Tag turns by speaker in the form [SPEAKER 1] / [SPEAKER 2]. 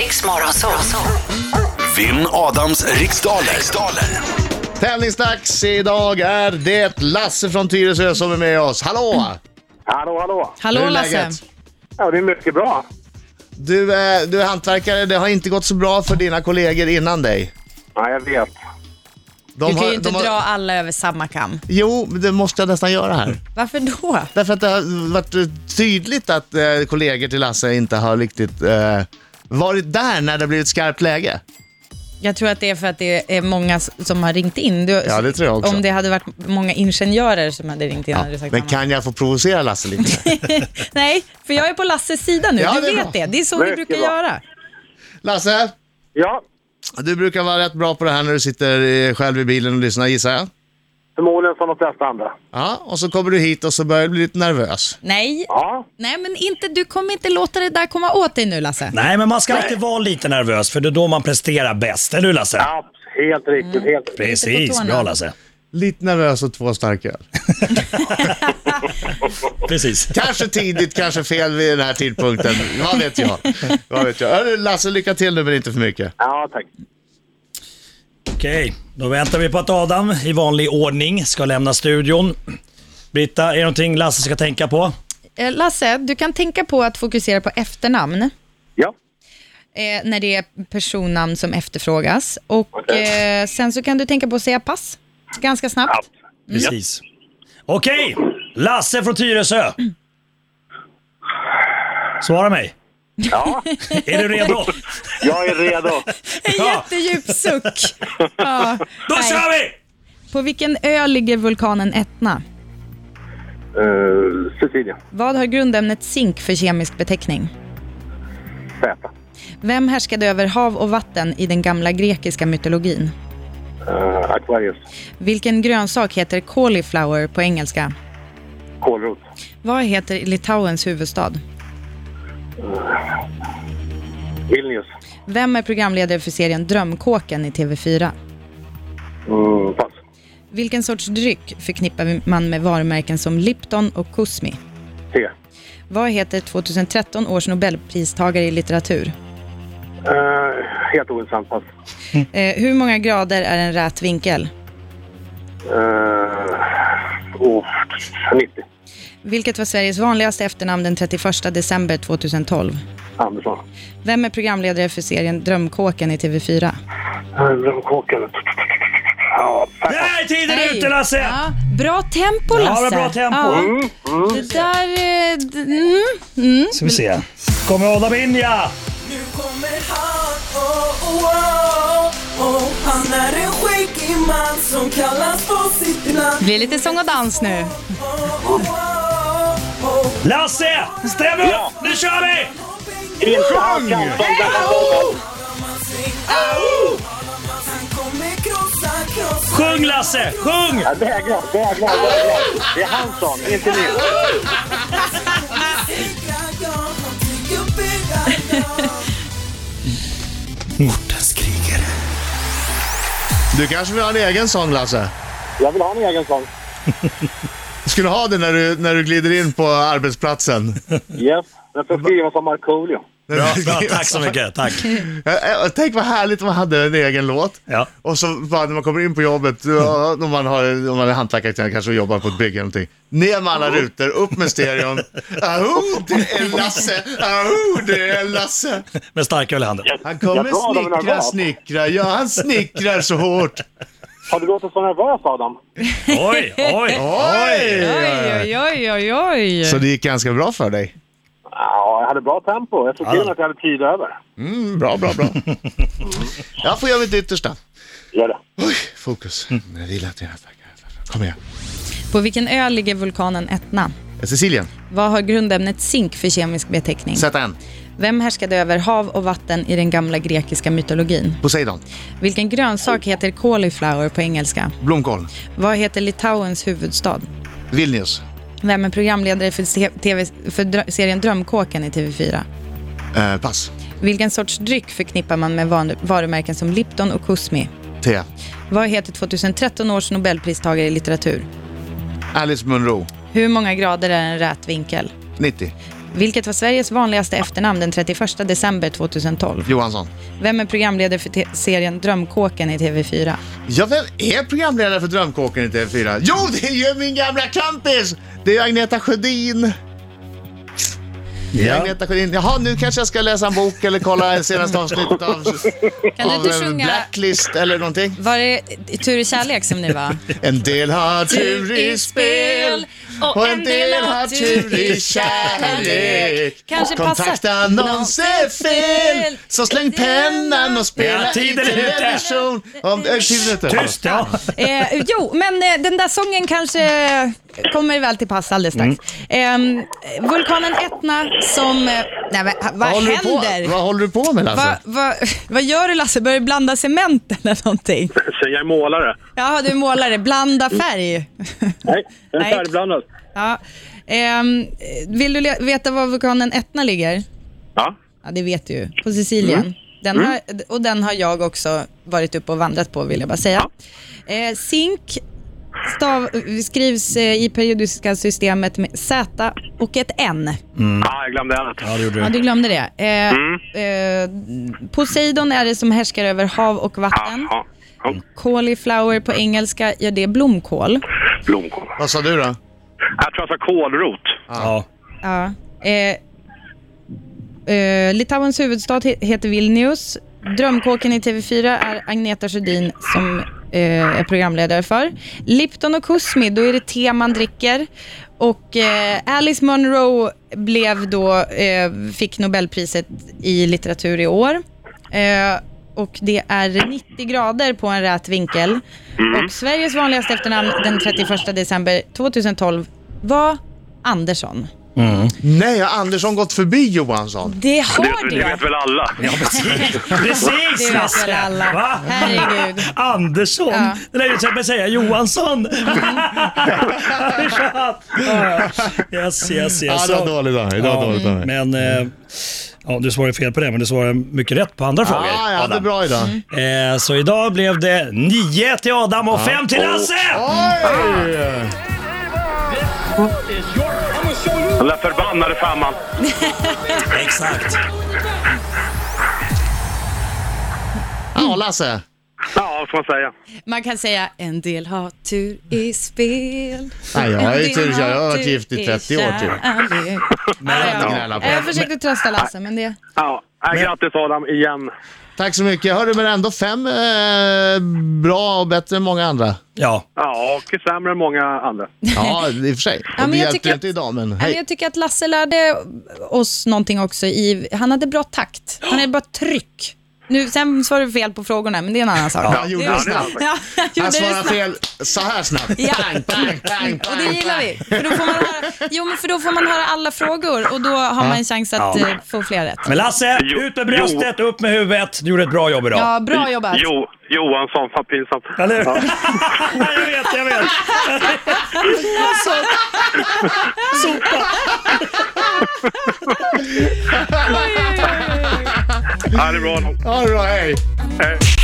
[SPEAKER 1] Riksmorgon så, så.
[SPEAKER 2] Vinn Adams riksdaler. riksdaler.
[SPEAKER 3] Tävlingsdags! Idag är det Lasse från Tyresö som är med oss. Hallå!
[SPEAKER 4] Hallå, hallå.
[SPEAKER 3] Hur
[SPEAKER 5] Hallå
[SPEAKER 3] är
[SPEAKER 5] Lasse.
[SPEAKER 3] läget?
[SPEAKER 4] Ja, det är mycket bra.
[SPEAKER 3] Du, är, du är hantverkare, det har inte gått så bra för dina kollegor innan dig.
[SPEAKER 4] Ja, jag vet.
[SPEAKER 3] De
[SPEAKER 5] Du kan
[SPEAKER 3] har-
[SPEAKER 5] ju inte
[SPEAKER 3] de har-
[SPEAKER 5] dra Mm. alla över samma kam.
[SPEAKER 3] Jo, men det måste jag nästan göra här.
[SPEAKER 5] Varför då?
[SPEAKER 3] Därför att det har varit eh, tydligt att eh, kollegor till Lasse inte har riktigt eh, varit där när det blivit skarpt läge.
[SPEAKER 5] Jag tror att det är för att det är många s- som har ringt in. Du,
[SPEAKER 3] Ja, det tror jag också.
[SPEAKER 5] Om det hade varit många ingenjörer som hade ringt in hade du sagt
[SPEAKER 3] Men
[SPEAKER 5] samma.
[SPEAKER 3] kan jag få provocera Lasse lite?
[SPEAKER 5] Nej, för jag är på Lasses sida nu.
[SPEAKER 3] Ja,
[SPEAKER 5] du
[SPEAKER 3] det är
[SPEAKER 5] vet
[SPEAKER 3] bra.
[SPEAKER 5] det. Det är så vi
[SPEAKER 4] Mycket
[SPEAKER 5] brukar
[SPEAKER 4] bra.
[SPEAKER 5] göra.
[SPEAKER 3] Lasse,
[SPEAKER 4] Ja,
[SPEAKER 3] du brukar vara rätt bra på det här när du sitter eh, själv i bilen och lyssnar gissar jag.
[SPEAKER 4] förmodligen som de flesta andra.
[SPEAKER 3] Ja, och så kommer du hit och så börjar du bli lite nervös.
[SPEAKER 5] Nej,
[SPEAKER 4] Ja,
[SPEAKER 5] nej men inte, du kommer inte låta det där komma åt dig nu Lasse.
[SPEAKER 6] Nej, men man ska alltid vara lite nervös för det är då man presterar bäst. Eller hur Lasse?
[SPEAKER 4] ja helt riktigt. Helt riktigt.
[SPEAKER 5] Lite på
[SPEAKER 6] Precis,
[SPEAKER 5] tårna.
[SPEAKER 6] bra Lasse.
[SPEAKER 3] Lite nervös och två starköl.
[SPEAKER 6] Precis.
[SPEAKER 3] Kanske tidigt, kanske fel vid den här tidpunkten. Vad vet jag? Vad vet jag? Hörru, Lasse, lycka till nu men inte för mycket.
[SPEAKER 4] Ja, tack.
[SPEAKER 6] Okej, då väntar vi på att Adam i vanlig ordning ska lämna studion. Britta, är det någonting Lasse ska tänka
[SPEAKER 4] Mm.
[SPEAKER 6] på?
[SPEAKER 5] Eh, Lasse, du kan tänka på att fokusera på efternamn
[SPEAKER 4] Ja,
[SPEAKER 5] eh, när det är personnamn som efterfrågas. Och
[SPEAKER 4] Okej.
[SPEAKER 5] eh, sen så kan du tänka på att säga pass ganska snabbt.
[SPEAKER 4] ja.
[SPEAKER 6] Precis. Okej, Lasse från Tyresö. Svara mig.
[SPEAKER 4] ja.
[SPEAKER 6] Är du redo?
[SPEAKER 4] Jag är redo.
[SPEAKER 5] En jättedjup suck. Ja.
[SPEAKER 6] Då
[SPEAKER 5] Nej.
[SPEAKER 6] kör vi!
[SPEAKER 5] På vilken ö ligger vulkanen Etna?
[SPEAKER 4] Uh, Cecilia,
[SPEAKER 5] Vad har grundämnet zink för kemisk beteckning?
[SPEAKER 4] Z.
[SPEAKER 5] Vem härskade över hav och vatten i den gamla grekiska mytologin?
[SPEAKER 4] Uh, Aquarius,
[SPEAKER 5] Vilken grönsak heter cauliflower på engelska?
[SPEAKER 4] kålrot.
[SPEAKER 5] Vad heter Litauens huvudstad?
[SPEAKER 4] Vilnius,
[SPEAKER 5] Vem är programledare för serien Drömkåken i TV4?
[SPEAKER 4] mm, pass.
[SPEAKER 5] Vilken sorts dryck förknippar man med varumärken som Lipton och Cosmi?
[SPEAKER 4] T.
[SPEAKER 5] Vad heter 2013 års nobelpristagare i litteratur?
[SPEAKER 4] Uh, helt ointressant, pass.
[SPEAKER 5] Eh, hur många grader är en rät vinkel?
[SPEAKER 4] Uh, oh, 90.
[SPEAKER 5] Vilket var Sveriges vanligaste efternamn den 31 december 2012?
[SPEAKER 4] Andersson.
[SPEAKER 5] Vem är programledare för serien Drömkåken i TV4?
[SPEAKER 4] Uh, Kåken. Ja, pass.
[SPEAKER 6] Nej, tiden är ute Lasse!
[SPEAKER 5] Ja, bra tempo
[SPEAKER 6] Ja,
[SPEAKER 5] Lasse!
[SPEAKER 6] det var bra tempo. Mm.
[SPEAKER 5] Ja, det där... eh, d- Mm, mm.
[SPEAKER 6] Ska vi se. Kommer Adam in ja!
[SPEAKER 7] Nu kommer han, oh, oh, oh, oh. Han är en skäggig man som kallas på sitt namn
[SPEAKER 5] Det blir lite sång och dans nu.
[SPEAKER 7] oh, oh, oh, oh.
[SPEAKER 6] Lasse! Stäm
[SPEAKER 4] Ja.
[SPEAKER 6] upp! Nu kör vi!
[SPEAKER 4] Inte alls kan som denna gången.
[SPEAKER 7] Han kommer krossa, krossa
[SPEAKER 6] Sjung Lasse! Sjung!
[SPEAKER 4] Ja, Vägrar, vägrar, vägrar. Det är hans sång, inte min.
[SPEAKER 7] jag Han tycker bygga jag
[SPEAKER 6] Mortens krigare.
[SPEAKER 3] Du kanske vill ha en egen sång Lasse?
[SPEAKER 4] Jag vill ha en egen sång.
[SPEAKER 3] Skulle ha det när du, när du glider in på arbetsplatsen.
[SPEAKER 4] Yes, den ska skrivas av Markoolio.
[SPEAKER 6] Bra, bra, tack så mycket. Tack.
[SPEAKER 3] Eh, eh, Tänk vad härligt om man hade en egen låt.
[SPEAKER 6] Ja.
[SPEAKER 3] Och så bara när man kommer in på jobbet, ja, om man, har, om man är hantverkare kanske och jobbar på ett bygge eller någonting. Ner med alla rutor, upp med stereon. Aho, det är Lasse! Aho, det är Lasse!
[SPEAKER 6] Med starköl i handen.
[SPEAKER 3] Han
[SPEAKER 4] Jag
[SPEAKER 3] kommer
[SPEAKER 4] drar dem när jag
[SPEAKER 3] snickra,
[SPEAKER 4] går.
[SPEAKER 3] snickra. Ja, han snickrar så hårt.
[SPEAKER 4] Har du låtit så nervös Adam?
[SPEAKER 6] Oj, oj, oj!
[SPEAKER 5] Oj, oj, oj, oj.
[SPEAKER 3] Så det gick ganska bra för dig.
[SPEAKER 4] Ja, jag hade bra tempo. Jag såg till att jag hade tid över.
[SPEAKER 3] Mm, bra, bra, bra. Jag får göra mitt yttersta.
[SPEAKER 4] Gör det.
[SPEAKER 3] Oj, fokus. Jag vill att jag Kom igen.
[SPEAKER 5] På vilken ö ligger vulkanen Etna?
[SPEAKER 3] Cecilien,
[SPEAKER 5] Vad har grundämnet zink för kemisk beteckning?
[SPEAKER 3] sätt en.
[SPEAKER 5] Vem härskade över hav och vatten i den gamla grekiska mytologin?
[SPEAKER 3] Poseidon,
[SPEAKER 5] Vilken grönsak heter cauliflower på engelska?
[SPEAKER 3] blomkål,
[SPEAKER 5] Vad heter Litauens huvudstad?
[SPEAKER 3] Vilnius,
[SPEAKER 5] Vem är programledare för, se- TV, för drö- serien Drömkåken i TV4?
[SPEAKER 3] eh, pass,
[SPEAKER 5] Vilken sorts dryck förknippar man med van- varumärken som Lipton och Cosmi?
[SPEAKER 3] te.
[SPEAKER 5] Vad heter 2013 års nobelpristagare i litteratur?
[SPEAKER 3] Alice Munro,
[SPEAKER 5] Hur många grader är en rät vinkel?
[SPEAKER 3] 90.
[SPEAKER 5] Vilket var Sveriges vanligaste efternamn den 31 december 2012?
[SPEAKER 3] Johansson.
[SPEAKER 5] Vem är programledare för te- serien Drömkåken i TV4?
[SPEAKER 3] Ja, vem är programledare för Drömkåken i TV4? Jo, det är ju min gamla kampis! Det är ju Agneta Sjödin.
[SPEAKER 6] Ja.
[SPEAKER 3] Agneta Sjödin. Jaha, nu kanske jag ska läsa en bok eller kolla senaste avsnittet av,
[SPEAKER 1] Kan du
[SPEAKER 3] av
[SPEAKER 1] inte
[SPEAKER 3] eh,
[SPEAKER 1] sjunga-
[SPEAKER 3] Blacklist eller någonting.
[SPEAKER 1] Var det Tur i kärlek som ni var?
[SPEAKER 3] En del har tur i spel och en del har tur i kärlek.
[SPEAKER 1] Kanske
[SPEAKER 3] Kontaktannons är fel, så släng pennan och spela
[SPEAKER 6] Ja, tiden
[SPEAKER 3] i
[SPEAKER 6] är ute.
[SPEAKER 3] television. Om, äh, tiden är ute.
[SPEAKER 6] Tyst ja.
[SPEAKER 5] Eh, jo, men eh, den där sången kanske kommer väl till pass alldeles strax.
[SPEAKER 3] Mm.
[SPEAKER 5] Eh, vulkanen Etna som... Eh, nej, men, ha- vad
[SPEAKER 3] Vad håller, du på,
[SPEAKER 5] händer?
[SPEAKER 3] vad alltså? håller du på med Lasse?
[SPEAKER 5] Va, va, vad gör du Lasse? Börjar du blanda cement eller någonting?
[SPEAKER 4] Så jag är målare.
[SPEAKER 5] Jaha, du är målare. Blanda färg.
[SPEAKER 4] Nej, jag
[SPEAKER 5] Nej.
[SPEAKER 4] är färdigblandad.
[SPEAKER 5] Ja. Ehm, vill du le- veta var vulkanen Etna ligger?
[SPEAKER 4] Ja. Mm.
[SPEAKER 5] Ja, det vet du ju. På Sicilien. Den har, och den har jag också varit uppe och vandrat på, vill jag bara säga. Eh, zink stav, skrivs eh, i periodiska systemet med Z och ett N.
[SPEAKER 4] Ah, jag glömde Mm. en.
[SPEAKER 6] Mm. Ja, det gjorde
[SPEAKER 5] Ja,
[SPEAKER 6] du.
[SPEAKER 5] du glömde det. Eh, eh, Poseidon är det som härskar över hav och vatten.
[SPEAKER 4] Ja. ja.
[SPEAKER 5] Cauliflower på engelska, ja det är blomkål.
[SPEAKER 4] Blomkål.
[SPEAKER 3] Vad sa du då?
[SPEAKER 4] Jag tror jag sa kålrot.
[SPEAKER 6] Ja.
[SPEAKER 5] Ja. Eh, eh, Litauens huvudstad he- heter Vilnius. Drömkåken i TV4 är Agneta Sjödin som eh, är programledare för. Lipton och Kusmi, då är det te man dricker. Och eh, Alice Munro blev då, eh, fick Nobelpriset i litteratur i år. Eh, och det är 90 grader på en rät vinkel. Och Sveriges vanligaste efternamn den 31 december 2012 var Andersson.
[SPEAKER 3] Nej, har Andersson gått förbi Johansson?
[SPEAKER 5] Det
[SPEAKER 4] Det,
[SPEAKER 5] har
[SPEAKER 4] det vet
[SPEAKER 5] det.
[SPEAKER 4] väl alla?
[SPEAKER 5] Det
[SPEAKER 6] Precis
[SPEAKER 5] vet väl
[SPEAKER 6] Lasse!
[SPEAKER 5] alla.
[SPEAKER 6] Va?
[SPEAKER 5] Herregud.
[SPEAKER 6] Andersson?
[SPEAKER 5] Ja.
[SPEAKER 6] Det lär ju som att säga Johansson. yes, yes, yes.
[SPEAKER 3] dålig dag.
[SPEAKER 6] Ja,
[SPEAKER 3] Mm.
[SPEAKER 6] men eh, ja, du svarade fel på det, men du svarade mycket rätt på andra frågor.
[SPEAKER 3] Ja, jag hade
[SPEAKER 6] Adam.
[SPEAKER 3] bra idag.
[SPEAKER 5] Mm.
[SPEAKER 6] Eh, så idag blev det 9 till Adam och 5 till Lasse!
[SPEAKER 3] Oj!
[SPEAKER 4] Den där förbannade femman.
[SPEAKER 6] Exakt.
[SPEAKER 3] Ja, Lasse.
[SPEAKER 4] Ja, vad ska man säga?
[SPEAKER 5] Man kan säga en del har tur i spel.
[SPEAKER 3] Nej, jag
[SPEAKER 5] en
[SPEAKER 3] har ju
[SPEAKER 5] del
[SPEAKER 3] tur. Jag har varit
[SPEAKER 5] tur
[SPEAKER 3] gift i 30 år typ.
[SPEAKER 5] kärlek.
[SPEAKER 3] Men,
[SPEAKER 5] Ja.
[SPEAKER 3] gnälla på.
[SPEAKER 5] Jag försökte trösta Lasse, men det...
[SPEAKER 4] Ja, äh, grattis Adam igen.
[SPEAKER 3] Tack så mycket. Hörde men ändå fem eh, bra och bättre än många andra.
[SPEAKER 6] Ja,
[SPEAKER 4] Ja, och sämre än många andra.
[SPEAKER 3] Ja, i och för sig.
[SPEAKER 5] men
[SPEAKER 3] det
[SPEAKER 5] jag
[SPEAKER 3] hjälpte
[SPEAKER 5] tycker
[SPEAKER 3] inte idag, men
[SPEAKER 5] Men
[SPEAKER 3] hej.
[SPEAKER 5] jag tycker att Lasse lärde oss någonting också i... Han hade bra takt. Han hade bra tryck. Nu, sen svarade du fel på frågorna, men det är en annan sak.
[SPEAKER 3] Han gjorde det snabbt.
[SPEAKER 5] Ja, jag gjorde
[SPEAKER 3] Han
[SPEAKER 5] det
[SPEAKER 3] svarade
[SPEAKER 5] snabbt.
[SPEAKER 3] fel så här snabbt.
[SPEAKER 5] Ja.
[SPEAKER 3] Bang, bang, bang,
[SPEAKER 5] Och det gillar vi. För då, får man höra, jo, men för då får man höra alla frågor och då har man en chans att eh, få fler rätt.
[SPEAKER 6] men Lasse,
[SPEAKER 4] Jo-
[SPEAKER 6] ut med bröstet, upp med huvudet. Du gjorde ett bra jobb idag.
[SPEAKER 5] Ja, bra jobbat.
[SPEAKER 4] Jo, Johansson, fan pinsamt.
[SPEAKER 6] Eller hur? jag vet, jag vet.
[SPEAKER 4] Ja, det är bra Adam.
[SPEAKER 3] All right.
[SPEAKER 4] Hej.